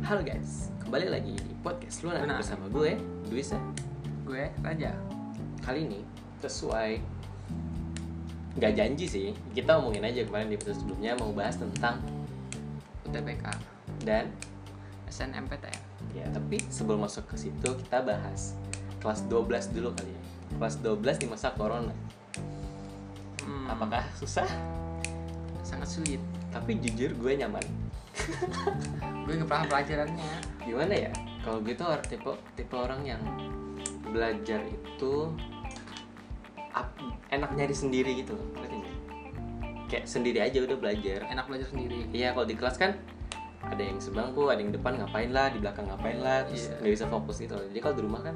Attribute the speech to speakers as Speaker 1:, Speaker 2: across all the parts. Speaker 1: Halo guys, kembali lagi di podcast Luna
Speaker 2: Luna.
Speaker 1: bersama gue, Duisa.
Speaker 2: gue Raja
Speaker 1: Kali ini sesuai nggak janji sih, kita omongin aja kemarin di episode sebelumnya mau bahas tentang
Speaker 2: UTBK
Speaker 1: dan
Speaker 2: SNMPTN
Speaker 1: ya tapi sebelum masuk ke situ kita bahas kelas 12 dulu kali ya. Kelas 12 di masa corona.
Speaker 2: Hmm,
Speaker 1: Apakah susah?
Speaker 2: sangat sulit
Speaker 1: Tapi jujur gue nyaman.
Speaker 2: gue nggak paham pelajarannya
Speaker 1: Gimana ya? Kalau gue tuh or- tipe tipe orang yang belajar itu ap- enak nyari sendiri gitu loh. Ngerti nggak? Kayak sendiri aja udah belajar.
Speaker 2: enak belajar sendiri
Speaker 1: Iya kalau di kelas kan ada yang sebangku, ada yang depan ngapain lah, di belakang ngapain lah, terus
Speaker 2: Iya.
Speaker 1: nggak bisa fokus gitu. Jadi kalau di rumah kan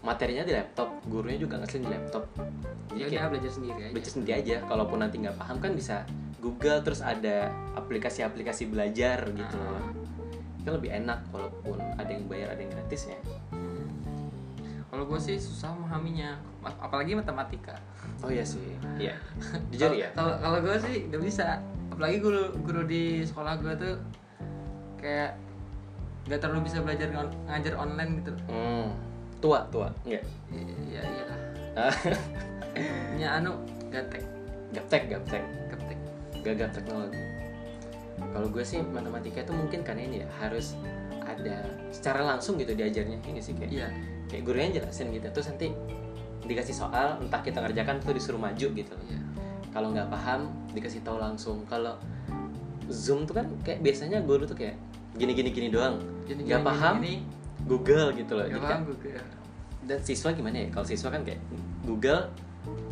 Speaker 1: materinya di laptop, gurunya juga ngasih di laptop. Jadi
Speaker 2: ya
Speaker 1: kayak
Speaker 2: udah belajar sendiri aja
Speaker 1: baca sendiri aja. Kalaupun nanti nggak paham kan bisa Google terus ada aplikasi-aplikasi belajar gitu
Speaker 2: Ah.
Speaker 1: loh. Itu lebih enak walaupun ada yang bayar ada yang gratis ya.
Speaker 2: kalau gue sih susah memahaminya Ma- apalagi matematika
Speaker 1: Oh iya sih. Iya. Jujur ya.
Speaker 2: kalau kalau gue sih nggak bisa apalagi guru guru di sekolah gue tuh kayak nggak terlalu bisa belajar ngon- ngajar online gitu
Speaker 1: Hmm. Tua, Iya. tua. Enggak.
Speaker 2: ya iyalah
Speaker 1: Ah,
Speaker 2: ya anu gatek
Speaker 1: gaptek, gaptek.
Speaker 2: gatek
Speaker 1: gagap teknologi kalau gue sih matematika itu mungkin karena ini ya harus ada secara langsung gitu diajarnya ini sih kayak
Speaker 2: iya
Speaker 1: kayak gurunya jelasin gitu terus nanti dikasih soal entah kita ngerjakan tuh disuruh maju gitu
Speaker 2: iya
Speaker 1: kalau nggak paham dikasih tahu langsung kalau zoom tuh kan kayak biasanya guru tuh kayak gini gini gini doang
Speaker 2: Gini,
Speaker 1: nggak
Speaker 2: gini,
Speaker 1: paham
Speaker 2: gini,
Speaker 1: Google gitu loh Jadi
Speaker 2: gini. nggak paham
Speaker 1: kan-
Speaker 2: gue kayak,
Speaker 1: dan siswa gimana ya kalau siswa kan kayak Google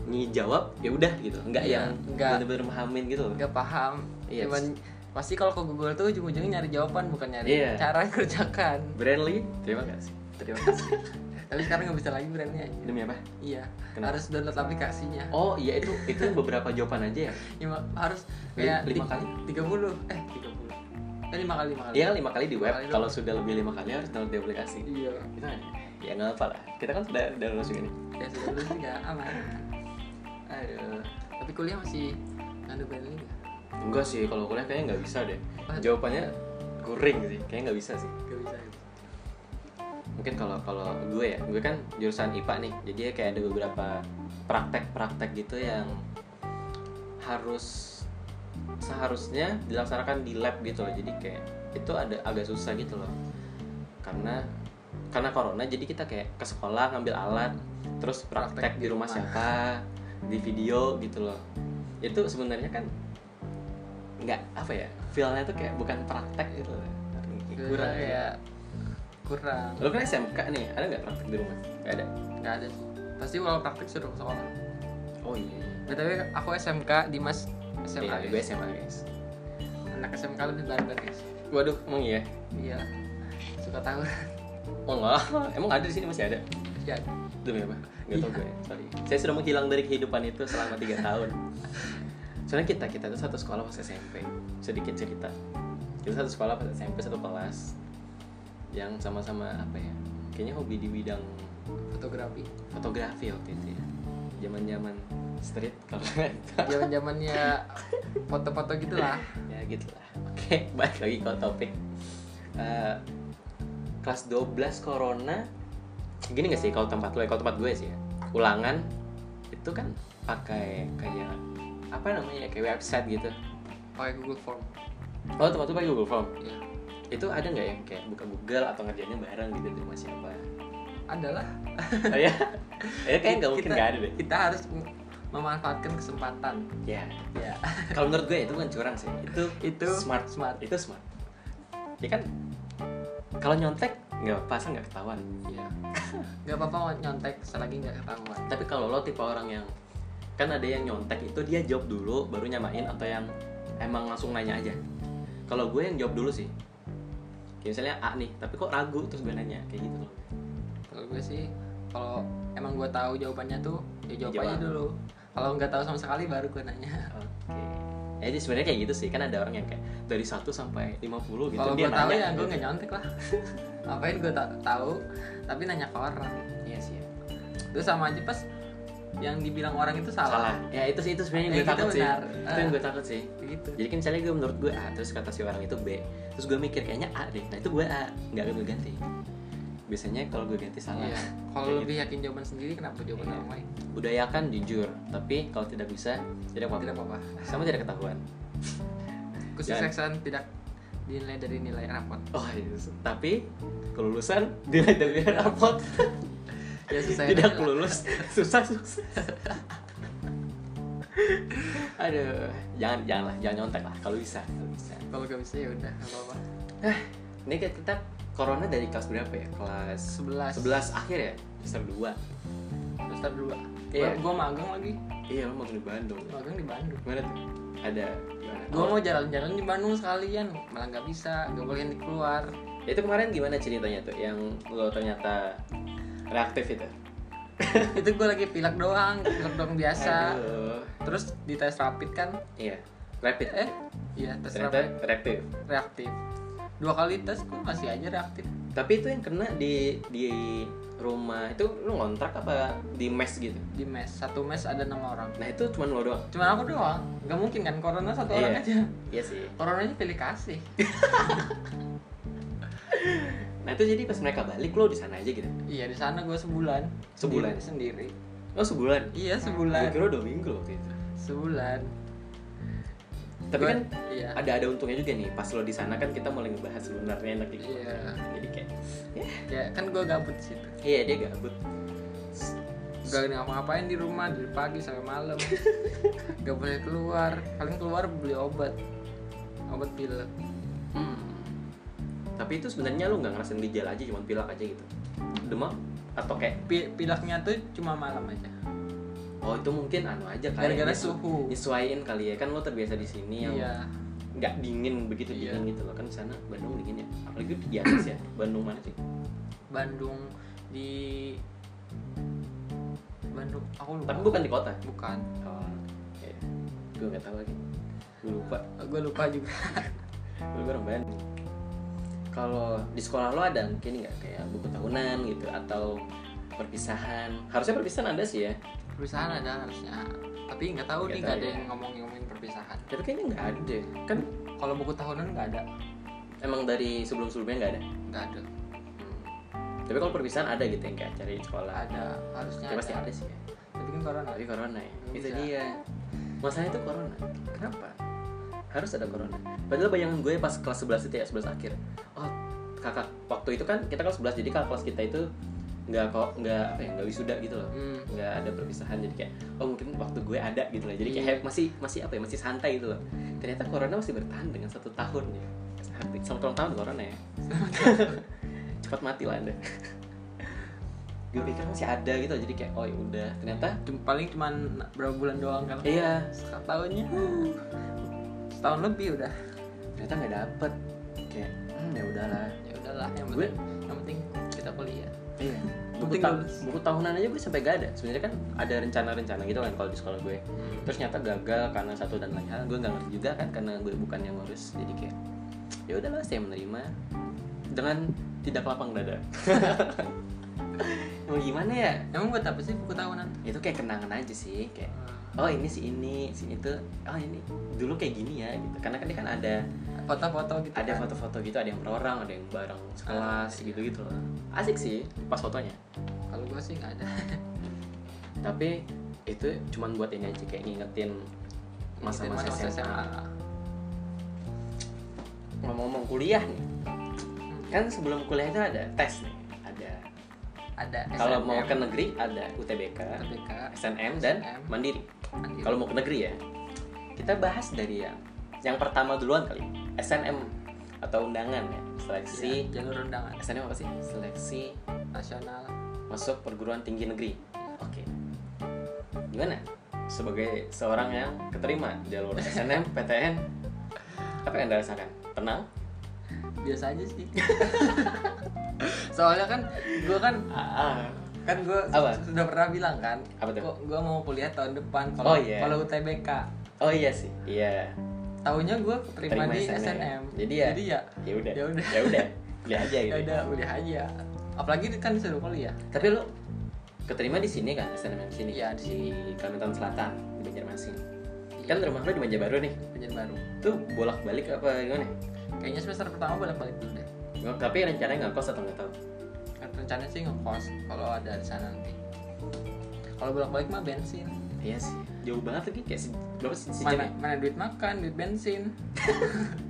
Speaker 1: ngejawab ya udah gitu nggak
Speaker 2: Iya,
Speaker 1: yang
Speaker 2: nggak.
Speaker 1: bener-bener memahamin gitu loh
Speaker 2: nggak paham
Speaker 1: Iya,
Speaker 2: cuman pasti kalau ke Google tuh ujung-ujungnya nyari jawaban bukan nyari
Speaker 1: Iya.
Speaker 2: cara kerjakan
Speaker 1: Brandly terima kasih terima kasih
Speaker 2: tapi sekarang nggak bisa lagi brandnya
Speaker 1: Demi apa?
Speaker 2: iya
Speaker 1: Kenapa?
Speaker 2: harus download aplikasinya
Speaker 1: Oh iya itu itu beberapa jawaban aja ya?
Speaker 2: Ya, ma- harus
Speaker 1: Li-
Speaker 2: kayak
Speaker 1: lima
Speaker 2: di-
Speaker 1: kali?
Speaker 2: 30 eh 30 eh lima kali lima kali
Speaker 1: Iya kan lima kali di web.
Speaker 2: Lima kali
Speaker 1: Kalau sudah lebih lima kali harus download di aplikasi.
Speaker 2: iya
Speaker 1: Kita nggak- ya nggak apa lah. Kita kan sudah udah lulus ini.
Speaker 2: ya sudah dulu sih nggak aman aduh tapi kuliah masih nganu brandnya nggak
Speaker 1: Enggak sih kalau kuliah kayaknya nggak bisa deh.
Speaker 2: Apa?
Speaker 1: Jawabannya kuring sih. Kayaknya nggak bisa sih.
Speaker 2: nggak bisa gitu.
Speaker 1: Mungkin kalau kalau gue ya, gue kan jurusan IPA nih. Jadi ya kayak ada beberapa praktek-praktek gitu yang harus seharusnya dilaksanakan di lab gitu loh jadi kayak itu ada agak susah gitu loh karena karena corona jadi kita kayak ke sekolah ngambil alat terus praktek
Speaker 2: Praktek
Speaker 1: di
Speaker 2: di
Speaker 1: rumah
Speaker 2: rumah.
Speaker 1: siapa di video gitu loh itu sebenarnya kan nggak apa ya feelnya tuh kayak bukan praktek gitu loh kurang ya
Speaker 2: kayak kurang
Speaker 1: lo kan SMK nih ada nggak praktek di rumah nggak ada
Speaker 2: nggak ada sih pasti kalau praktik suruh ke sekolah
Speaker 1: oh iya
Speaker 2: btw aku SMK Dimas
Speaker 1: iya
Speaker 2: SMK
Speaker 1: gue SMA guys
Speaker 2: anak SMK lebih barbar guys
Speaker 1: waduh emang iya
Speaker 2: iya suka tahu
Speaker 1: oh enggak emang ada di sini masih ada
Speaker 2: ya
Speaker 1: Demi apa? Gak tau
Speaker 2: Iya.
Speaker 1: gue, ya, sorry Saya sudah menghilang dari kehidupan itu selama 3 tahun Soalnya kita, kita tuh satu sekolah pas SMP Sedikit cerita Kita satu sekolah pas SMP, satu kelas Yang sama-sama apa ya Kayaknya hobi di bidang
Speaker 2: fotografi
Speaker 1: fotografi waktu itu ya Zaman-zaman street kalau
Speaker 2: zaman zamannya foto-foto gitulah
Speaker 1: ya gitu lah oke balik lagi ke topik Eh, kelas 12 corona gini gak sih kalau tempat lo ya? kalau tempat gue sih ya ulangan itu kan pakai kayak apa namanya ya, kayak website gitu
Speaker 2: pakai Google Form
Speaker 1: oh tempat lo pakai Google Form
Speaker 2: ya
Speaker 1: itu ada nggak yang kayak buka Google atau ngerjainnya bareng gitu di rumah siapa
Speaker 2: Ya. adalah
Speaker 1: oh, ya ya kayak nggak mungkin
Speaker 2: Kita-
Speaker 1: nggak ada deh
Speaker 2: kita harus mem- memanfaatkan kesempatan
Speaker 1: ya
Speaker 2: ya
Speaker 1: kalau menurut gue itu bukan curang sih itu
Speaker 2: itu
Speaker 1: smart
Speaker 2: smart
Speaker 1: itu smart ya kan kalau nyontek nggak pasang nggak ketahuan
Speaker 2: ya nggak apa-apa nyontek selagi nggak ketahuan
Speaker 1: tapi kalau lo tipe orang yang kan ada yang nyontek itu dia jawab dulu baru nyamain atau yang emang langsung nanya aja kalau gue yang jawab dulu sih kayak misalnya A nih tapi kok ragu terus gue nanya kayak gitu loh
Speaker 2: kalau gue sih kalau emang gue tahu jawabannya tuh ya jawab aja
Speaker 1: Jawab.
Speaker 2: dulu kalau nggak tahu sama sekali baru gue nanya
Speaker 1: oke jadi sebenarnya kayak gitu sih kan ada orang yang kayak dari 1 sampai 50 gitu
Speaker 2: kalau
Speaker 1: dia
Speaker 2: gue tahu
Speaker 1: nanya
Speaker 2: ya gue nggak nyontek lah ngapain gue ta- tahu tapi nanya ke orang
Speaker 1: iya sih ya.
Speaker 2: itu sama aja pas yang dibilang orang itu
Speaker 1: salah.
Speaker 2: salah,
Speaker 1: Ya itu sih itu sebenarnya yang
Speaker 2: Ya,
Speaker 1: gue takut
Speaker 2: gitu benar.
Speaker 1: sih. Itu yang gue takut sih.
Speaker 2: gitu
Speaker 1: Jadi kan misalnya gue menurut gue A, terus kata si orang itu B, terus gue mikir kayaknya A deh. Nah itu gue A, nggak gue ganti. Biasanya kalau gue ganti salah.
Speaker 2: Iya. kalau
Speaker 1: Kayak gitu.
Speaker 2: lebih yakin jawaban sendiri kenapa jawaban
Speaker 1: Iya.
Speaker 2: orang lain
Speaker 1: gitu. Budayakan jujur, tapi kalau tidak bisa tidak
Speaker 2: tidak
Speaker 1: apa-apa.
Speaker 2: apa-apa
Speaker 1: Sama tidak ketahuan.
Speaker 2: kesuksesan tidak dinilai dari nilai rapot
Speaker 1: Oh iya. Tapi kelulusan nilai dari rapot
Speaker 2: ya susah
Speaker 1: tidak lulus susah sukses. Aduh, jangan janganlah jangan nyontek lah kalau bisa kalau bisa.
Speaker 2: kalau gak bisa ya udah nggak apa-apa
Speaker 1: Eh, Ini kita kita corona dari kelas berapa ya? Kelas
Speaker 2: sebelas
Speaker 1: 11 akhir ya? Semester 2
Speaker 2: semester dua
Speaker 1: Iya.
Speaker 2: gue magang lagi
Speaker 1: Iya lo mau ke Bandung
Speaker 2: magang di Bandung
Speaker 1: Gimana tuh? Ada gimana?
Speaker 2: gue mau jalan-jalan di Bandung sekalian malah nggak bisa nggak boleh keluar
Speaker 1: Oh, Itu kemarin gimana ceritanya tuh? Yang lo ternyata reaktif itu?
Speaker 2: itu gue lagi pilek doang pilek doang biasa
Speaker 1: Aduh
Speaker 2: terus di tes rapid kan
Speaker 1: Iya Rapid
Speaker 2: eh iya tes
Speaker 1: Ternyata
Speaker 2: rapid
Speaker 1: reaktif
Speaker 2: reaktif dua kali tes gue masih aja reaktif
Speaker 1: Tapi itu yang kena di di rumah itu lo ngontrak apa di mes gitu?
Speaker 2: di mes satu mes ada enam orang
Speaker 1: Nah itu cuma lo doang
Speaker 2: cuma aku doang nggak mungkin kan corona
Speaker 1: Iya.
Speaker 2: satu orang aja
Speaker 1: Iya sih
Speaker 2: coronanya pilih kasih
Speaker 1: Nah itu jadi pas mereka balik lo di sana aja gitu?
Speaker 2: iya di sana gue sebulan
Speaker 1: Sebulan? Gitu.
Speaker 2: Sendiri- sendiri
Speaker 1: Oh sebulan?
Speaker 2: iya
Speaker 1: Gue
Speaker 2: sebulan
Speaker 1: kira dua minggu loh waktu itu
Speaker 2: sebulan
Speaker 1: Tapi
Speaker 2: Gua-
Speaker 1: kan
Speaker 2: iya
Speaker 1: ada ada untungnya juga nih pas lo di sana kan kita mulai ngebahas sebenarnya enak gitu
Speaker 2: Iya.
Speaker 1: jadi kayak
Speaker 2: ya kan gue gabut di situ
Speaker 1: iya dia gabut
Speaker 2: gak ngapa-ngapain di rumah dari pagi sampai malam gak boleh keluar paling keluar beli obat obat pilek Hmm.
Speaker 1: tapi itu sebenarnya lo nggak ngerasain gejala aja cuma pilak aja gitu demam atau kayak
Speaker 2: Pi- pileknya tuh cuma malam aja
Speaker 1: oh itu mungkin anu aja kali
Speaker 2: gara-gara
Speaker 1: nyesu-
Speaker 2: suhu
Speaker 1: nyesuaiin kali ya kan lo terbiasa di sini yang
Speaker 2: iya
Speaker 1: nggak dingin begitu
Speaker 2: Iya.
Speaker 1: dingin gitu loh kan di sana Bandung dingin ya apalagi di atas ya Bandung mana sih
Speaker 2: Bandung di Bandung aku lupa
Speaker 1: tapi bukan di kota
Speaker 2: bukan
Speaker 1: oh, iya. gue nggak tahu lagi gue lupa
Speaker 2: gue lupa juga
Speaker 1: Lu orang Bandung. Kalau di sekolah lo ada mungkin nggak kayak buku tahunan gitu atau perpisahan? Harusnya perpisahan ada sih ya,
Speaker 2: perpisahan ada harusnya tapi nggak tahu
Speaker 1: Nggak
Speaker 2: nih
Speaker 1: tahu
Speaker 2: nggak ada
Speaker 1: ya.
Speaker 2: yang ngomongin ngomongin perpisahan
Speaker 1: tapi kayaknya nggak ada deh. Kan
Speaker 2: kalau buku tahunan nggak ada
Speaker 1: emang dari sebelum-sebelumnya nggak ada.
Speaker 2: nggak ada
Speaker 1: Tapi kalau perpisahan ada gitu yang kayak cari di sekolah.
Speaker 2: ada
Speaker 1: Ya,
Speaker 2: harusnya
Speaker 1: pasti
Speaker 2: ada.
Speaker 1: ada sih ya.
Speaker 2: tapi kan corona
Speaker 1: Tapi corona ya.
Speaker 2: Nggak
Speaker 1: Itu
Speaker 2: bisa.
Speaker 1: dia. Masalahnya itu corona. Kenapa? Harus ada corona. Padahal bayangan gue pas kelas 11 itu ya, 11 akhir. Oh, kakak waktu itu kan kita kelas 11 jadi kakak kelas kita itu nggak kok nggak apa ya nggak wisuda gitu loh
Speaker 2: Hmm.
Speaker 1: nggak ada perpisahan jadi kayak oh mungkin waktu gue ada gitu loh jadi kayak
Speaker 2: Iya.
Speaker 1: masih masih apa ya masih santai gitu loh ternyata corona masih bertahan dengan satu tahun ya Arti- selamat ulang tahun corona ya cepat mati lah anda gue pikir masih ada gitu loh, jadi kayak oh ya udah ternyata
Speaker 2: Cuma- paling cuman berapa bulan doang kan
Speaker 1: iya
Speaker 2: setahunnya setahun lebih udah
Speaker 1: ternyata nggak dapet kayak hmm, ya udahlah
Speaker 2: ya udahlah yang
Speaker 1: Gue-
Speaker 2: penting yang penting kita kuliah
Speaker 1: Iya. Buku,
Speaker 2: Penting
Speaker 1: ta-
Speaker 2: lulus.
Speaker 1: buku tahunan aja gue sampai gak ada. Sebenarnya kan ada rencana-rencana gitu kan kalau di sekolah gue.
Speaker 2: Hmm.
Speaker 1: Terus nyata gagal karena satu dan lain hal. Gue nggak ngerti juga kan karena gue bukan yang ngurus. Jadi kayak ya udahlah saya menerima dengan tidak lapang dada. Emang gimana ya?
Speaker 2: emang buat apa sih buku tahunan
Speaker 1: Itu kayak kenangan aja sih kayak
Speaker 2: Hmm.
Speaker 1: oh ini si ini, si itu, oh ini dulu kayak gini ya gitu. Karena kan dia kan ada
Speaker 2: foto-foto gitu
Speaker 1: ada
Speaker 2: kan.
Speaker 1: foto-foto gitu, ada yang per orang, ada yang bareng sekelas
Speaker 2: Ah, iya.
Speaker 1: gitu-gitu loh. Asik sih pas fotonya.
Speaker 2: kalau gue sih nggak ada
Speaker 1: tapi itu cuman buat ini aja kayak ngingetin masa-masa
Speaker 2: Masa-masa
Speaker 1: SMA. Ngomong-ngomong kuliah nih, kan sebelum kuliah itu ada tes nih, ada.
Speaker 2: ada
Speaker 1: Kalau mau
Speaker 2: SNM,
Speaker 1: ke negeri ada UTBK,
Speaker 2: TBK
Speaker 1: SNM dan
Speaker 2: SNM.
Speaker 1: Mandiri.
Speaker 2: mandiri.
Speaker 1: Kalau mau ke negeri ya, kita bahas dari yang yang pertama duluan kali, SNM atau undangan ya,
Speaker 2: si
Speaker 1: seleksi.
Speaker 2: Iya, jalur undangan
Speaker 1: SNM apa sih? Iya. Seleksi
Speaker 2: nasional
Speaker 1: masuk perguruan tinggi negeri. Oke. Gimana? Sebagai seorang yang keterima jalur SNM, PTN, apa yang Anda rasakan? Tenang?
Speaker 2: biasa aja sih soalnya kan gue kan kan gue
Speaker 1: Apa?
Speaker 2: sudah pernah bilang kan
Speaker 1: Apa tuh?
Speaker 2: gue mau kuliah tahun depan
Speaker 1: Oh,
Speaker 2: kalau
Speaker 1: iya.
Speaker 2: kalau UTBK
Speaker 1: Oh iya sih. Iya.
Speaker 2: tahunnya gue terima
Speaker 1: Terima
Speaker 2: di
Speaker 1: SNM.
Speaker 2: SNM.
Speaker 1: Jadi ya-
Speaker 2: jadi ya
Speaker 1: Ya udah.
Speaker 2: Ya udah.
Speaker 1: Ya udah. Kuliah aja
Speaker 2: ya
Speaker 1: gitu.
Speaker 2: udah udah aja apalagi kan disuruh kuliah
Speaker 1: Tapi lu keterima di sini kan SNM di sini
Speaker 2: Iya, di sini.
Speaker 1: Kalimantan Selatan di Banjarmasin
Speaker 2: Iya.
Speaker 1: kan rumah lu di Banjarbaru nih
Speaker 2: Penjara baru.
Speaker 1: tuh bolak balik apa gimana
Speaker 2: Kayaknya semester pertama bolak-balik dulu deh.
Speaker 1: Gua- tapi rencananya nggak kos atau nggak tahu
Speaker 2: Kan rencananya sih ngekos kalau ada di sana nanti. Kalau bolak-balik mah bensin.
Speaker 1: iya sih jauh banget lagi kayak se- berapa sih sejam
Speaker 2: Mana,
Speaker 1: ya
Speaker 2: mana duit makan, duit bensin.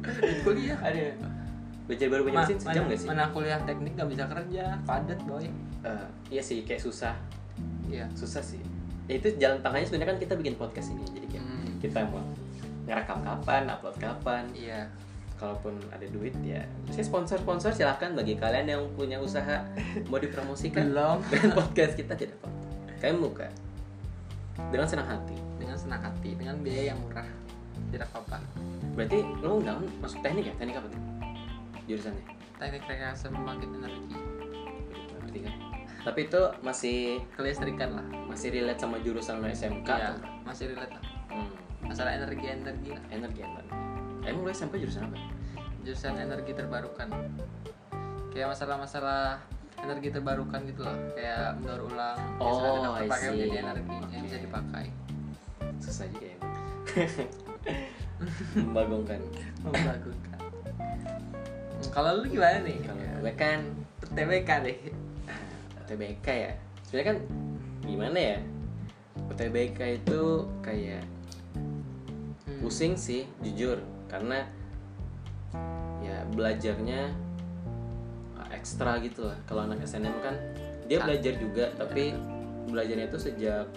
Speaker 2: duit kuliah.
Speaker 1: ada Banjarbaru
Speaker 2: Ma-
Speaker 1: Banjarmasin sejam
Speaker 2: mana,
Speaker 1: nggak sih
Speaker 2: mana kuliah teknik gak bisa kerja, padat boy.
Speaker 1: Eh, iya sih kayak susah
Speaker 2: Iya.
Speaker 1: susah sih ya, itu jalan tangannya sebenarnya kan kita bikin podcast ini jadi kayak
Speaker 2: Hmm,
Speaker 1: kita mau ngerekam kapan upload kapan
Speaker 2: iya.
Speaker 1: kalaupun ada duit ya saya sponsor sponsor silahkan bagi kalian yang punya usaha mau dipromosikan
Speaker 2: Belum
Speaker 1: dengan podcast kita tidak apa kami buka dengan senang hati
Speaker 2: dengan senang hati, dengan biaya yang murah. Tidak apa-apa.
Speaker 1: berarti lo undang masuk teknik ya teknik apa tuh jurusannya
Speaker 2: Teknik rekayasa pembangkit energi.
Speaker 1: berarti kan tapi itu masih
Speaker 2: Kelistrikan lah.
Speaker 1: masih relate sama jurusan lo SMK
Speaker 2: Iya,
Speaker 1: atau-
Speaker 2: masih relate lah.
Speaker 1: hmm,
Speaker 2: Masalah energi-energi lah.
Speaker 1: energi energi emang lo SMP jurusan apa
Speaker 2: jurusan energi terbarukan kayak masalah-masalah energi terbarukan gitu loh kayak mendaur ulang
Speaker 1: Oh,
Speaker 2: biasanya ada
Speaker 1: I
Speaker 2: terpakai
Speaker 1: see.
Speaker 2: menjadi energi yang bisa
Speaker 1: Oke.
Speaker 2: dipakai
Speaker 1: susah juga ya membagongkan
Speaker 2: membangunkan Oh, Hmm, kalau lu gimana nih
Speaker 1: kalau gue kan
Speaker 2: TBK deh
Speaker 1: UTBK ya sebenarnya kan gimana ya UTBK itu kayak
Speaker 2: Hmm.
Speaker 1: pusing sih jujur karena ya belajarnya uh, ekstra gitu lah kalau anak SNM kan dia
Speaker 2: Ah.
Speaker 1: belajar juga tapi belajarnya itu sejak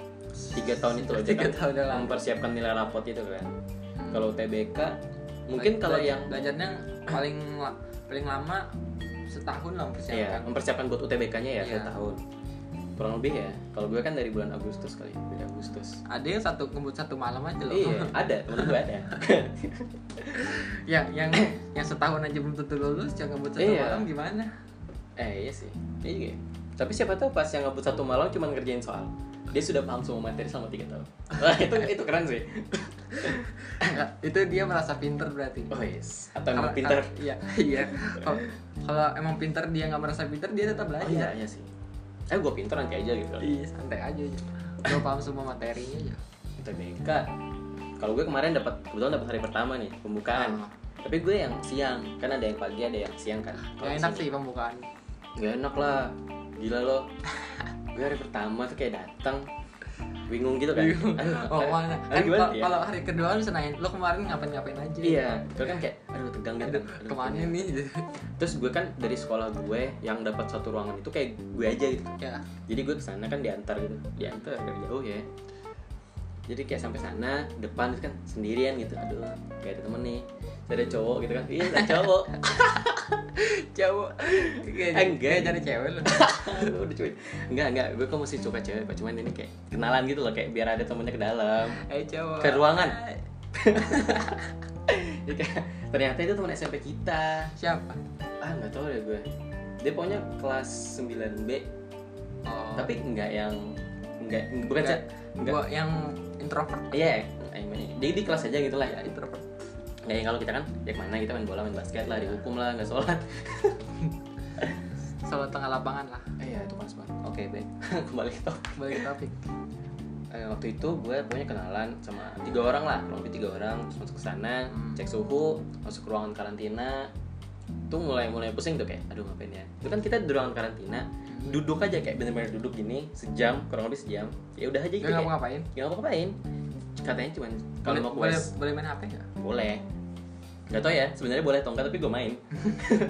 Speaker 1: tiga tahun itu aja
Speaker 2: Tiga
Speaker 1: kan
Speaker 2: tahun yang lalu.
Speaker 1: mempersiapkan nilai rapot itu kan
Speaker 2: Hmm.
Speaker 1: kalau UTBK mungkin
Speaker 2: Belajar-
Speaker 1: kalau yang
Speaker 2: belajarnya paling la- paling lama setahun lah kan.
Speaker 1: ya
Speaker 2: mempersiapkan
Speaker 1: mempersiapkan buat UTBK-nya ya
Speaker 2: Iya.
Speaker 1: setahun kurang lebih ya kalau gue kan dari bulan Agustus kali bulan Agustus
Speaker 2: ada yang satu kebut satu malam aja loh
Speaker 1: iya ada temen gue ada
Speaker 2: ya yang yang setahun aja belum tentu lulus yang ngebut satu
Speaker 1: Iya.
Speaker 2: malam gimana
Speaker 1: Eh iya sih, iya juga ya. Tapi siapa tahu pas yang ngebut satu malam cuma ngerjain soal Dia sudah paham semua materi selama 3 tahun Wah itu, itu keren sih
Speaker 2: Ya, itu dia merasa pinter berarti
Speaker 1: Oh yes, atau
Speaker 2: Kalau-
Speaker 1: emang pinter
Speaker 2: kalau- iya iya kalau, kalau emang pinter dia nggak merasa pinter dia tetap
Speaker 1: Oh
Speaker 2: belajar
Speaker 1: iya, iya sih Eh gue pinter nanti aja gitu
Speaker 2: Iya, santai aja gue paham semua materinya aja
Speaker 1: UTBK Kalau gue kemarin dapat kebetulan dapat hari pertama nih, pembukaan
Speaker 2: Ah.
Speaker 1: Tapi gue yang siang, kan ada yang pagi ada yang siang kan Kalau
Speaker 2: Gak
Speaker 1: di
Speaker 2: enak
Speaker 1: sini-
Speaker 2: sih pembukaan
Speaker 1: Gak enak lah, gila lo Gue hari pertama tuh kayak datang bingung gitu kan Aduh,
Speaker 2: oh
Speaker 1: aduh,
Speaker 2: mana
Speaker 1: aduh,
Speaker 2: kan
Speaker 1: gimana
Speaker 2: kalau-
Speaker 1: ya?
Speaker 2: kalau hari kedua kan bisa nanya lo kemarin ngapain ngapain aja
Speaker 1: Iya, itu kan kayak aduh tegang gitu.
Speaker 2: Aduh,
Speaker 1: Aduh,
Speaker 2: kemana Gitu.
Speaker 1: tegang.
Speaker 2: nih
Speaker 1: Terus gue kan dari sekolah gue yang dapat satu ruangan itu kayak gue aja gitu.
Speaker 2: ya
Speaker 1: Jadi gue kesana kan diantar gitu, diantar dari jauh ya. Jadi kayak sampai sana depan itu kan sendirian gitu, aduh kayak ada temen nih. Terus ada cowok gitu kan, iya ada cowok.
Speaker 2: cowok kayak
Speaker 1: Enggak.
Speaker 2: kayak cari cewek lo
Speaker 1: aduh udah cuy. Enggak enggak, gue kok mesti coba cewek, Pak. cuman ini kayak kenalan gitu loh, kayak biar ada temennya ke dalam.
Speaker 2: eh cowok
Speaker 1: Ke ruangan. Jadi kayak, ternyata itu teman SMP kita.
Speaker 2: siapa
Speaker 1: Ah nggak tahu deh gue. Dia pokoknya kelas 9B
Speaker 2: oh
Speaker 1: tapi nggak yang nggak bukan
Speaker 2: Nggak.
Speaker 1: saya nggak
Speaker 2: gua yang introvert
Speaker 1: iya I mean, di, di kelas aja gitu lah
Speaker 2: ya
Speaker 1: ya
Speaker 2: introvert
Speaker 1: nggak yang kalau kita kan ya kemana kita main bola main basket lah dihukum lah nggak sholat
Speaker 2: selalu tengah lapangan lah
Speaker 1: iya itu panas banget oke baik kembali ke topik.
Speaker 2: balik ke topik
Speaker 1: Eh, waktu itu gue punya kenalan sama tiga orang lah kurang lebih tiga orang terus masuk ke sana
Speaker 2: Hmm.
Speaker 1: cek suhu masuk ke ruangan karantina tuh mulai mulai pusing tuh kayak aduh ngapain ya itu kan kita di ruangan karantina
Speaker 2: Hmm.
Speaker 1: duduk aja kayak bener-bener duduk gini sejam kurang lebih sejam ya udah aja gitu kayak
Speaker 2: Gak mau ngapain
Speaker 1: nggak mau ngapain katanya cuman kalau
Speaker 2: Boleh-
Speaker 1: mau
Speaker 2: boleh,
Speaker 1: quest
Speaker 2: boleh main HP nggak?
Speaker 1: boleh nggak tau ya sebenarnya boleh atau enggak tapi gue main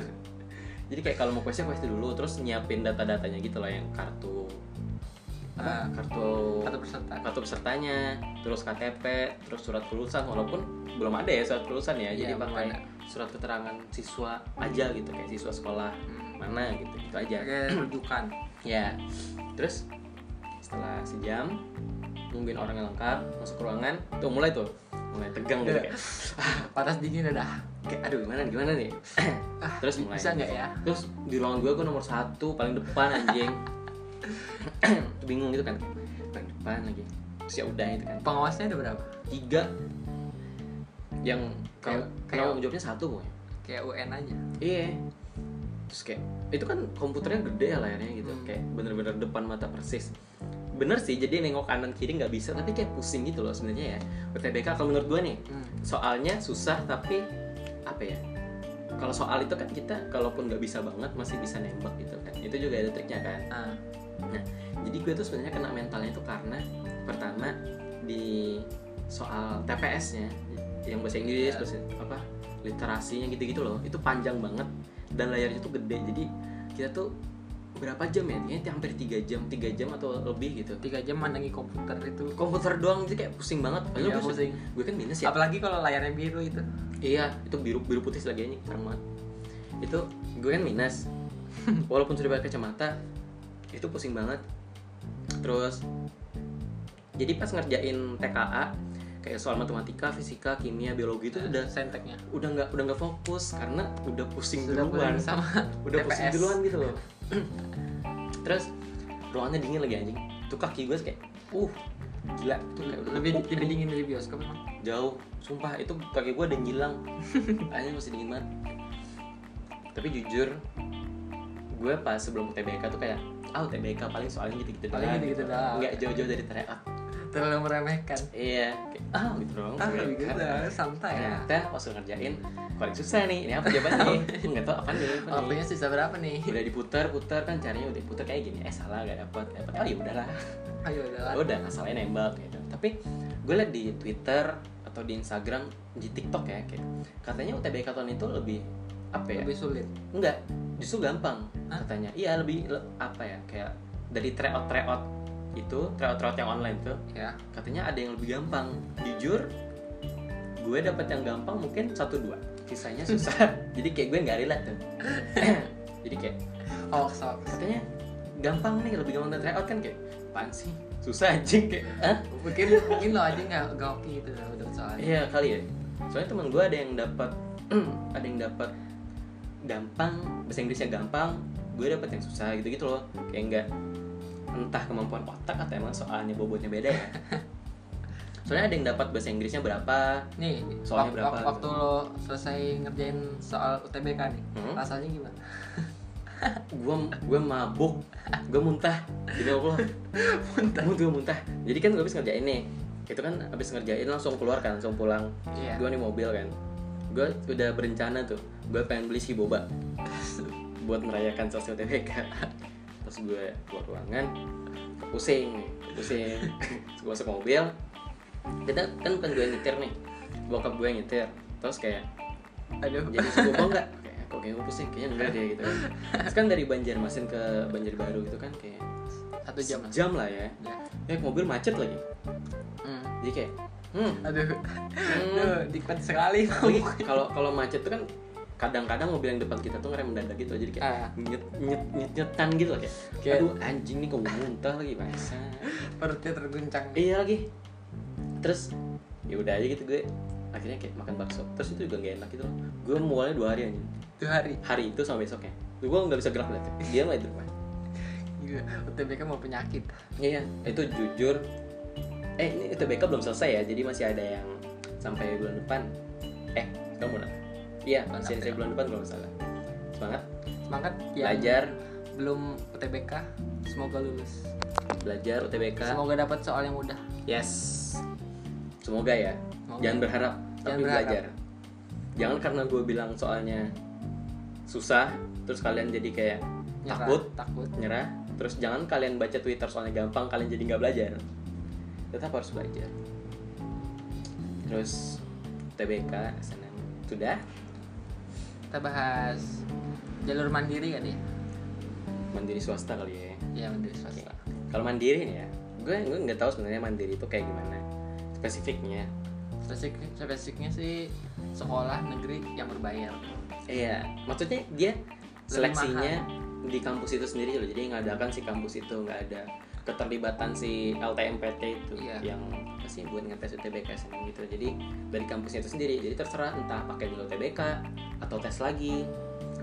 Speaker 1: jadi kayak kalau mau questnya quest dulu terus nyiapin data-datanya gitu loh yang kartu
Speaker 2: Ah,
Speaker 1: apa kartu
Speaker 2: Kartu peserta.
Speaker 1: kartu pesertanya terus KTP terus surat kelulusan walaupun belum ada ya surat kelulusan ya
Speaker 2: Iya,
Speaker 1: jadi
Speaker 2: belum
Speaker 1: pakai
Speaker 2: ada.
Speaker 1: surat keterangan siswa aja gitu kayak siswa sekolah
Speaker 2: Hmm.
Speaker 1: mana gitu gitu aja
Speaker 2: Pakai rujukan.
Speaker 1: ya terus setelah sejam nungguin orangnya lengkap masuk ke ruangan tuh mulai tuh mulai tegang gitu kayak
Speaker 2: Patas dingin udah. Ah,
Speaker 1: kayak aduh gimana nih, gimana nih terus mulai
Speaker 2: Bisa nggak ya?
Speaker 1: terus di ruangan gue gue nomor satu paling depan anjing bingung gitu kan paling depan lagi terus ya udah itu kan
Speaker 2: Pengawasnya ada berapa?
Speaker 1: tiga yang kalau
Speaker 2: Kayak- kayak-
Speaker 1: kalau jawabnya satu pokoknya
Speaker 2: Kayak UN aja.
Speaker 1: iya terus kayak itu kan komputernya gede ya layarnya gitu
Speaker 2: Hmm.
Speaker 1: kayak bener-bener depan mata persis bener sih jadi nengok kanan kiri nggak bisa tapi kayak pusing gitu loh sebenarnya ya UTBK kalau menurut gue nih
Speaker 2: Hmm.
Speaker 1: soalnya susah tapi apa ya kalau soal itu kan kita kalaupun nggak bisa banget masih bisa nembak gitu kan itu juga ada triknya kan
Speaker 2: Ah,
Speaker 1: jadi gue tuh sebenarnya kena mentalnya itu karena pertama di soal TPS-nya yang bahasa Inggris
Speaker 2: Iya.
Speaker 1: bahasa apa literasinya gitu-gitu loh itu panjang banget dan layarnya tuh gede jadi kita tuh berapa jam ya kayaknya hampir 3 jam 3 jam atau lebih gitu
Speaker 2: tiga jam mandangi komputer itu
Speaker 1: komputer doang itu kayak pusing banget Padahal
Speaker 2: Iya,
Speaker 1: gue-
Speaker 2: pusing.
Speaker 1: gue kan minus ya
Speaker 2: apalagi kalau layarnya biru itu
Speaker 1: Iya, itu biru biru putih lagi anjing serem banget. Itu gue kan minus. Walaupun sudah pakai kacamata, itu pusing banget. Terus jadi pas ngerjain TKA kayak soal matematika, fisika, kimia, biologi itu udah
Speaker 2: senteknya
Speaker 1: udah nggak udah nggak fokus karena udah pusing
Speaker 2: Sudah
Speaker 1: duluan.
Speaker 2: pusing sama
Speaker 1: Udah pusing
Speaker 2: TPS.
Speaker 1: duluan gitu loh. Terus ruangannya dingin lagi anjing. Tuh kaki gue kayak uh gila tuh kayak udah
Speaker 2: lebih
Speaker 1: uh,
Speaker 2: lebih dingin dari bioskop emang
Speaker 1: jauh sumpah itu kaki gue ada yang hilang anjing masih dingin banget tapi jujur gue pas sebelum TBK tuh kayak ah TBK paling soalnya gitu-gitu
Speaker 2: Paling
Speaker 1: doang."
Speaker 2: gitu-gitu doang.
Speaker 1: nggak jauh-jauh dari teriak
Speaker 2: terlalu meremehkan
Speaker 1: iya kayak, ah gitu dong
Speaker 2: ah
Speaker 1: TBK."
Speaker 2: gitu santai ya
Speaker 1: ternyata pas gue ngerjain paling susah nih ini apa jawabannya nggak tau apa nih apa nih.
Speaker 2: Apanya sisa berapa nih
Speaker 1: udah diputar-putar kan caranya udah diputar kayak gini eh salah gak dapat dapat oh ya udahlah
Speaker 2: ayo
Speaker 1: Ya
Speaker 2: udah lah
Speaker 1: udah masalahnya nembak gitu tapi gue liat di Twitter atau di Instagram di TikTok ya kayak katanya UTBK tahun itu lebih apa ya
Speaker 2: lebih sulit
Speaker 1: enggak justru gampang
Speaker 2: Hah?
Speaker 1: katanya iya lebih le- apa ya kayak dari tryout tryout itu tryout tryout yang online tuh
Speaker 2: ya
Speaker 1: katanya ada yang lebih gampang jujur gue dapat yang gampang mungkin satu dua sisanya susah jadi kayak gue nggak relate tuh jadi kayak
Speaker 2: oh so
Speaker 1: katanya gampang nih lebih gampang dari tryout kan kayak apaan sih susah anjing kayak "Hah?
Speaker 2: mungkin mungkin lo aja nggak nggak oke gitu dalam dapat soalnya
Speaker 1: Iya kali ya. Soalnya teman gue ada yang dapat ada yang dapat gampang bahasa Inggrisnya gampang, gue dapat yang susah gitu-gitu loh. Kayak enggak entah kemampuan otak atau emang soalnya bobotnya beda ya. Soalnya ada yang dapat bahasa Inggrisnya berapa?
Speaker 2: nih
Speaker 1: Soalnya
Speaker 2: wak-
Speaker 1: berapa?
Speaker 2: wak- waktu lo selesai ngerjain soal UTBK nih
Speaker 1: Hmm?
Speaker 2: rasanya gimana
Speaker 1: Gue gue mabuk, gue muntah. Jadi Allah, muntah, gue muntah. Jadi kan gue habis ngerjain nih. Itu kan habis ngerjain langsung keluar kan, langsung pulang.
Speaker 2: iya
Speaker 1: gue di mobil kan gue udah berencana tuh gue pengen beli si boba buat merayakan sosial TBK terus gue keluar ruangan pusing pusing Terus gue masuk mobil kita kan bukan gue yang nyetir nih bokap gue yang nyetir terus kayak
Speaker 2: aduh
Speaker 1: jadi si boba nggak kayak kok kayak gue pusing kayaknya enggak deh gitu kan terus kan dari Banjarmasin ke Banjarbaru gitu kan kayak
Speaker 2: satu jam lah
Speaker 1: jam lah ya
Speaker 2: Ya.
Speaker 1: ya mobil macet lagi
Speaker 2: Hmm.
Speaker 1: jadi kayak hmm,
Speaker 2: aduh
Speaker 1: hmm
Speaker 2: aduh dikit sekali
Speaker 1: Lagi, kalau kalau macet tuh kan kadang-kadang mobil yang depan kita tuh ngerem mendadak gitu jadi kayak
Speaker 2: ah
Speaker 1: nyet nyet nyet nyetan gitu loh kayak,
Speaker 2: Kayak-
Speaker 1: aduh anjing nih kok muntah lagi bangsa
Speaker 2: perutnya terguncang
Speaker 1: iya lagi terus ya udah aja gitu gue akhirnya kayak makan bakso terus itu juga gak enak gitu loh gue mualnya dua hari anjing
Speaker 2: itu hari
Speaker 1: hari itu sama besoknya gue nggak bisa gerak lihat dia nggak di rumah
Speaker 2: Gila, UTBK mau penyakit
Speaker 1: Iya, itu jujur. Eh, ini UTBK belum selesai ya, jadi masih ada yang sampai bulan depan. Eh, kamu bulan? Iya,
Speaker 2: Bulan
Speaker 1: masih
Speaker 2: April.
Speaker 1: sampai bulan depan kalau nggak salah. Semangat,
Speaker 2: semangat ya
Speaker 1: belajar,
Speaker 2: belum UTBK semoga lulus
Speaker 1: belajar UTBK.
Speaker 2: semoga dapat soal yang mudah
Speaker 1: Yes. Semoga ya.
Speaker 2: Semoga.
Speaker 1: Jangan berharap, tapi
Speaker 2: berharap.
Speaker 1: belajar. Jangan karena gue bilang soalnya susah, terus kalian jadi kayak
Speaker 2: Nyerah,
Speaker 1: takut,
Speaker 2: takut
Speaker 1: nyerah. Terus jangan kalian baca Twitter soalnya gampang, kalian jadi nggak belajar. Tetap harus belajar. Terus TBK, SNM sudah
Speaker 2: kita bahas jalur mandiri kan ya
Speaker 1: mandiri swasta kali ya.
Speaker 2: ya mandiri swasta
Speaker 1: Kalau mandiri nih ya, gue gue nggak tahu sebenarnya mandiri itu kayak gimana spesifiknya.
Speaker 2: spesifik spesifiknya sih sekolah negeri yang berbayar
Speaker 1: Iya, maksudnya dia seleksinya di kampus itu sendiri loh. Jadi ngadakan si kampus itu nggak ada keterlibatan si LTMPT itu
Speaker 2: Iya.
Speaker 1: yang apa sih buat ngetes UTBK SNM gitu. Jadi dari kampusnya itu sendiri. Jadi terserah entah pakai dulu UTBK atau tes lagi.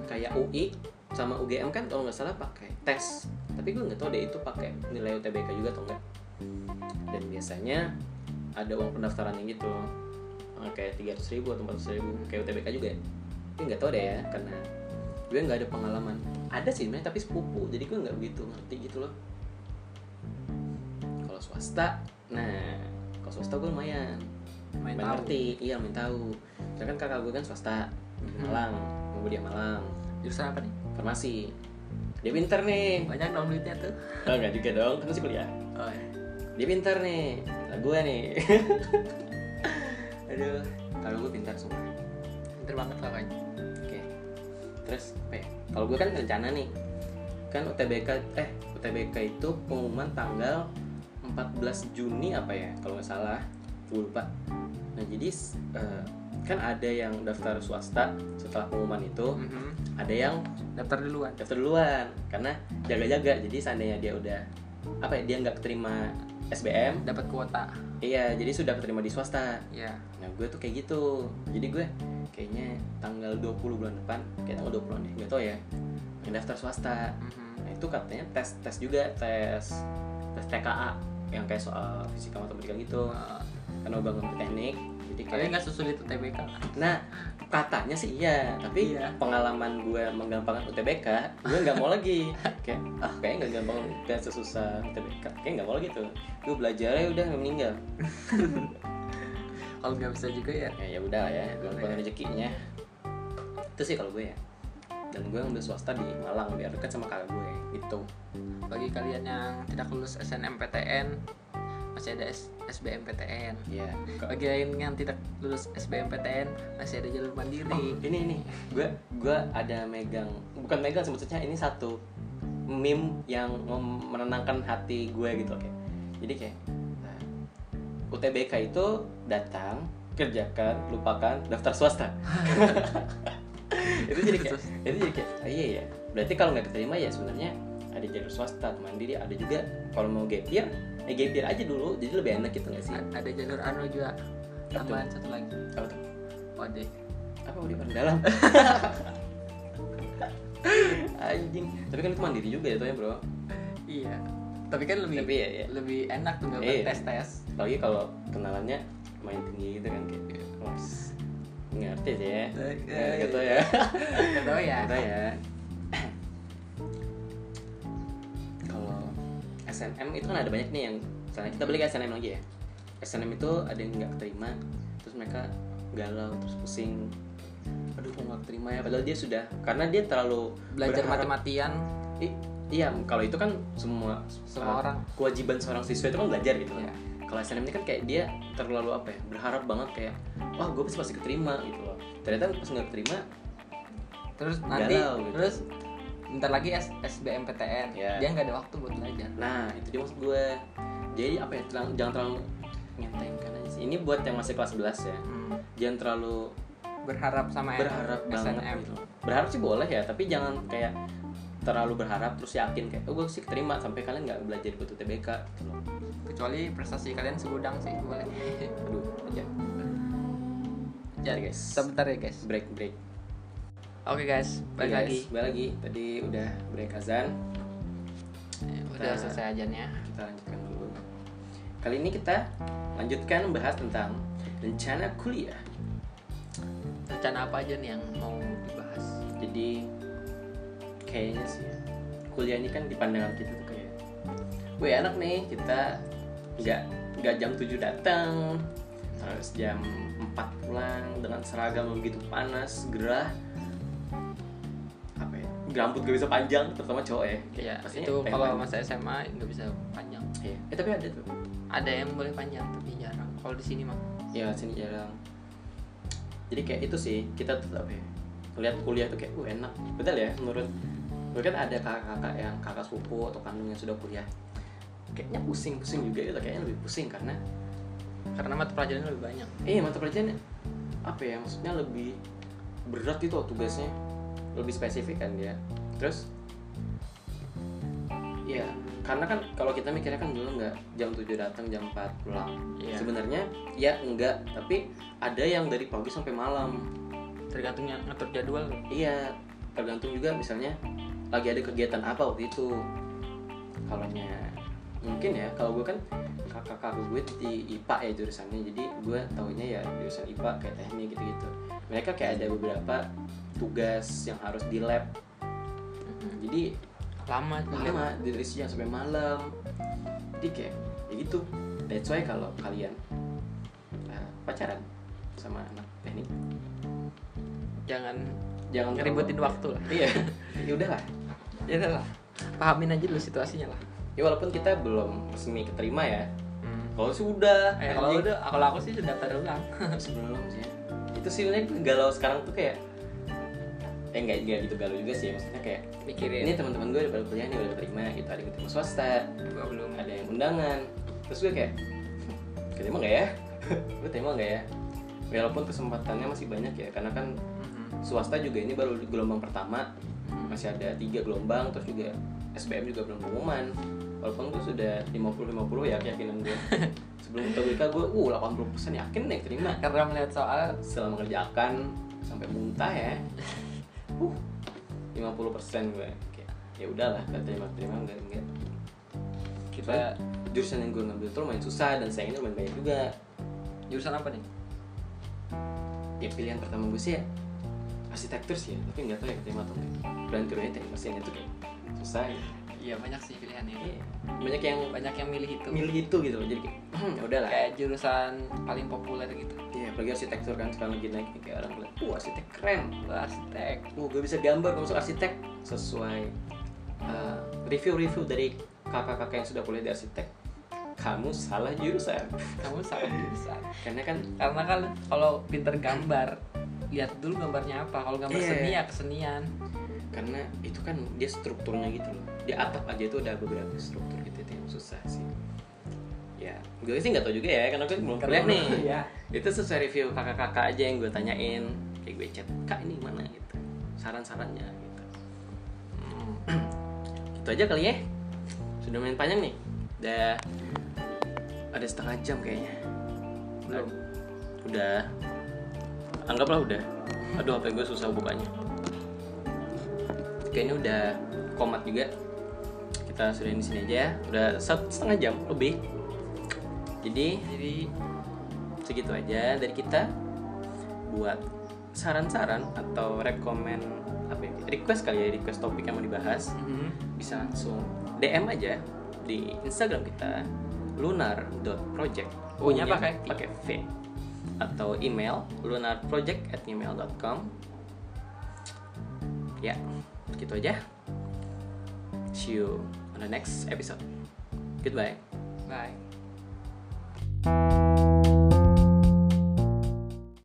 Speaker 1: Kayak UI sama UGM kan kalau nggak salah pakai tes. Tapi gue nggak tahu deh itu pakai nilai UTBK juga atau enggak. Dan biasanya ada uang pendaftarannya gitu. Eh, Kayak 300.000 ribu atau 400.000 ribu kayak UTBK juga ya gue nggak tau deh ya karena gue nggak ada pengalaman ada sih sebenarnya tapi sepupu jadi gue nggak begitu ngerti gitu loh swasta nah kalau swasta gue lumayan
Speaker 2: main
Speaker 1: main
Speaker 2: tahu
Speaker 1: ngerti iya main tahu sedangkan kakak gue kan swasta
Speaker 2: Mhm.
Speaker 1: Malang mau dia Malang
Speaker 2: jurusan apa nih
Speaker 1: farmasi dia pinter nih
Speaker 2: banyak dong duitnya tuh
Speaker 1: oh, enggak juga dong kan masih kuliah
Speaker 2: oh ya
Speaker 1: dia pintar nih lah gue nih aduh kalau gue pintar semua oke
Speaker 2: pinter banget lah kayaknya
Speaker 1: terus apa ya? kalau gue kan rencana nih kan UTBK eh UTBK itu pengumuman tanggal 14 Juni apa ya kalau nggak salah gue lupa nah jadi s- eh, kan ada yang daftar swasta setelah pengumuman itu
Speaker 2: Mhm.
Speaker 1: ada yang
Speaker 2: daftar duluan
Speaker 1: daftar duluan karena jaga-jaga jadi seandainya dia udah apa ya dia nggak terima SBM
Speaker 2: dapat kuota
Speaker 1: iya jadi sudah keterima di swasta
Speaker 2: ya
Speaker 1: Nah gue tuh kayak gitu Jadi gue kayaknya tanggal 20 bulan depan Kayak tanggal 20 an deh, gak tau ya Pengen daftar swasta
Speaker 2: Mhm.
Speaker 1: Nah itu katanya tes tes juga Tes tes TKA Yang kayak soal fisika matematika gitu
Speaker 2: Eh,
Speaker 1: Karena gue ngambil teknik Jadi kayak
Speaker 2: kalian nggak susul itu TBK
Speaker 1: Nah katanya sih iya Tapi
Speaker 2: Iya.
Speaker 1: pengalaman gue menggampangkan UTBK Gue gak mau lagi Kayak ah kayaknya gak gampang Dan sesusah UTBK Kayaknya gak mau lagi tuh Gue belajar aja udah meninggal
Speaker 2: kalau nggak bisa juga ya
Speaker 1: ya ya udah lah ya
Speaker 2: Ya,
Speaker 1: belum
Speaker 2: boleh.
Speaker 1: pengen rezekinya itu sih kalau gue ya dan gue ngambil swasta di Malang biar dekat sama kakak gue gitu
Speaker 2: bagi kalian yang tidak lulus SNMPTN masih ada S- SBMPTN
Speaker 1: ya
Speaker 2: bagi kalian yang tidak lulus SBMPTN masih ada jalur mandiri
Speaker 1: ini ini gue gue ada megang bukan megang sih, maksudnya ini satu meme yang mem- menenangkan hati gue gitu kayak jadi kayak nah, UTBK itu datang kerjakan lupakan daftar swasta Oh, itu jadi kayak
Speaker 2: Terus,
Speaker 1: itu jadi kayak ah, iya ya berarti kalau nggak keterima ya sebenarnya ada jalur swasta atau mandiri ada juga kalau mau gap year ya gap year aja dulu jadi lebih enak gitu nggak sih
Speaker 2: a- ada jalur anu juga tambahan satu lagi Oh,
Speaker 1: apa tuh
Speaker 2: OD
Speaker 1: apa udah orang dalam anjing tapi kan itu mandiri juga ya tuh ya bro
Speaker 2: iya tapi kan lebih
Speaker 1: tapi ya, ya.
Speaker 2: lebih enak tuh nggak
Speaker 1: Iya.
Speaker 2: tes tes
Speaker 1: apalagi kalau kenalannya main tinggi gitu kan kayak wes ngerti sih ya Ya, gitu ya
Speaker 2: gitu ya
Speaker 1: Ada ya. Kalau SNM itu kan ada banyak nih yang misalnya kita balik ke SNM lagi ya. SNM itu ada yang nggak terima, terus mereka galau, terus pusing. Aduh, kok nggak terima ya? Padahal dia sudah, karena dia terlalu
Speaker 2: belajar
Speaker 1: berharap-
Speaker 2: mati-matian
Speaker 1: I- iya, kalau itu kan semua
Speaker 2: Semua
Speaker 1: uh,
Speaker 2: orang.
Speaker 1: kewajiban seorang siswa itu kan belajar gitu kan.
Speaker 2: Iya.
Speaker 1: Kalau SNM ini kan kayak dia terlalu apa ya? Berharap banget kayak, wah gue pasti pasti keterima gitu loh. Ternyata pas nggak keterima,
Speaker 2: terus nanti
Speaker 1: Galau gitu.
Speaker 2: terus bentar lagi S SBMPTN
Speaker 1: Iya.
Speaker 2: dia nggak ada waktu buat belajar
Speaker 1: Nah, itu dia maksud gue. Jadi apa ya, terang- jangan terlalu ngentengkan aja sih. Ini buat yang masih kelas 11 ya. Jangan terlalu
Speaker 2: Hmm. berharap sama
Speaker 1: berharap banget
Speaker 2: SNM
Speaker 1: gitu. Berharap sih boleh ya, tapi jangan kayak terlalu berharap terus yakin kayak oh gue sih keterima sampai kalian nggak belajar buat UTBK gitu loh.
Speaker 2: kecuali prestasi kalian segudang sih boleh
Speaker 1: Aduh, aja.
Speaker 2: jadi
Speaker 1: guys.
Speaker 2: sebentar ya guys
Speaker 1: Break break.
Speaker 2: oke guys balik
Speaker 1: Hey, guys,
Speaker 2: lagi
Speaker 1: Balik lagi. Tadi udah break azan,
Speaker 2: udah
Speaker 1: Nah.
Speaker 2: selesai ya. ajannya
Speaker 1: kita lanjutkan dulu. Kali ini kita lanjutkan membahas tentang rencana kuliah.
Speaker 2: rencana apa aja nih yang mau dibahas
Speaker 1: jadi kayaknya sih ya, kuliah ini kan di pandangan kita tuh kayak wih enak nih kita nggak nggak jam 7 datang terus jam 4 pulang dengan seragam yang begitu panas gerah apa ya rambut gak bisa panjang terutama cowok ya Kayak
Speaker 2: ya
Speaker 1: pastinya
Speaker 2: itu
Speaker 1: pengen
Speaker 2: kalau
Speaker 1: panjang.
Speaker 2: masa SMA nggak bisa panjang
Speaker 1: Iya. eh tapi ada tuh
Speaker 2: ada yang boleh panjang tapi jarang kalau di sini mah
Speaker 1: ya sini jarang jadi kayak itu sih kita tuh apa ya lihat kuliah tuh kayak uh enak betul ya menurut menurut kan ada kakak-kakak yang kakak sepupu atau kandung yang sudah kuliah kayaknya pusing-pusing juga gitu kayaknya lebih pusing karena
Speaker 2: karena mata pelajaran lebih banyak
Speaker 1: eh mata pelajaran apa ya maksudnya lebih berat itu tugasnya lebih spesifik kan dia terus ya karena kan kalau kita mikirnya kan dulu nggak jam 7 datang jam 4 pulang
Speaker 2: Iya.
Speaker 1: sebenarnya ya enggak tapi ada yang dari pagi sampai malam
Speaker 2: tergantung yang ngatur jadwal
Speaker 1: iya tergantung juga misalnya lagi ada kegiatan apa waktu itu kalaunya mungkin ya kalau gue kan kakak-kakak gue di IPA ya jurusannya jadi gue taunya ya jurusan IPA kayak teknik gitu-gitu mereka kayak ada beberapa tugas yang harus di lab jadi
Speaker 2: lama tuh
Speaker 1: lama dari siang sampai malam jadi kayak ya itu that's why kalau kalian eh, pacaran sama anak teknik
Speaker 2: jangan
Speaker 1: jangan
Speaker 2: ngeributin
Speaker 1: terlalu-
Speaker 2: waktu lah
Speaker 1: iya ya udahlah
Speaker 2: ya udah lah pahamin aja dulu situasinya lah
Speaker 1: ya walaupun kita belum resmi keterima ya kalau sudah
Speaker 2: Eh, kalau udah kalau aku sih sudah daftar ulang
Speaker 1: sebelum sih ya. itu sih sebenarnya galau sekarang tuh kayak eh nggak nggak gitu galau juga sih ya. maksudnya kayak ini
Speaker 2: mikirin
Speaker 1: teman-teman gue udah pada kuliah nih udah pada terima gitu ada yang keterima swasta
Speaker 2: gua belum
Speaker 1: ada yang undangan terus gue kayak keterima nggak ya gue terima nggak ya walaupun kesempatannya masih banyak ya karena kan
Speaker 2: Mm-hmm.
Speaker 1: swasta juga ini baru gelombang pertama masih ada tiga gelombang terus juga SBM juga belum pengumuman walaupun gue sudah 50-50 ya keyakinan gue sebelum TWK gue uh 80% yakin deh terima
Speaker 2: karena melihat soal
Speaker 1: setelah mengerjakan sampai muntah ya uh 50% gue kayak ya udahlah gak terima terima enggak enggak
Speaker 2: kita
Speaker 1: jurusan yang gue ngambil tuh lumayan susah dan sayangnya lumayan banyak juga
Speaker 2: jurusan apa nih
Speaker 1: ya pilihan pertama gue sih ya arsitektur sih ya tapi nggak tahu ya keterima atau enggak dan keduanya teknik mesin itu kayak susah ya.
Speaker 2: iya banyak sih pilihannya
Speaker 1: Iya. banyak yang
Speaker 2: banyak yang milih itu
Speaker 1: milih itu gitu loh jadi kayak hmm, ya udahlah
Speaker 2: kayak jurusan paling populer gitu
Speaker 1: ya apalagi arsitektur kan sekarang lagi naik nih, kayak orang bilang uh arsitek keren
Speaker 2: Lu arsitek
Speaker 1: uh gue bisa gambar gue masuk arsitek sesuai uh, review-review dari kakak-kakak yang sudah kuliah di arsitek kamu salah jurusan
Speaker 2: kamu
Speaker 1: Iya.
Speaker 2: salah jurusan
Speaker 1: karena kan
Speaker 2: karena kan kalau pinter gambar lihat dulu gambarnya apa kalau gambar
Speaker 1: Iya.
Speaker 2: seni ya kesenian
Speaker 1: karena itu kan dia strukturnya gitu loh di atap aja itu ada beberapa struktur gitu itu yang susah sih ya gue sih nggak tau juga ya karena gue belum kuliah nih
Speaker 2: ya
Speaker 1: itu sesuai review kakak-kakak aja yang gue tanyain kayak gue chat kak ini mana gitu saran-sarannya gitu itu aja kali ya sudah main panjang nih udah ada setengah jam kayaknya
Speaker 2: belum
Speaker 1: udah anggaplah udah aduh apa gue susah bukanya kayaknya udah komat juga kita sudah di sini aja ya. udah satu setengah jam lebih jadi
Speaker 2: jadi
Speaker 1: segitu aja dari kita buat saran-saran atau rekomend apa ya request kali ya request topik yang mau dibahas
Speaker 2: Mm-hmm.
Speaker 1: bisa langsung DM aja di Instagram kita lunar.project U-nya
Speaker 2: U-nya Oh, iya. pakai V.
Speaker 1: pakai V atau email lunarproject@gmail.com ya gitu aja see you on the next episode goodbye
Speaker 2: bye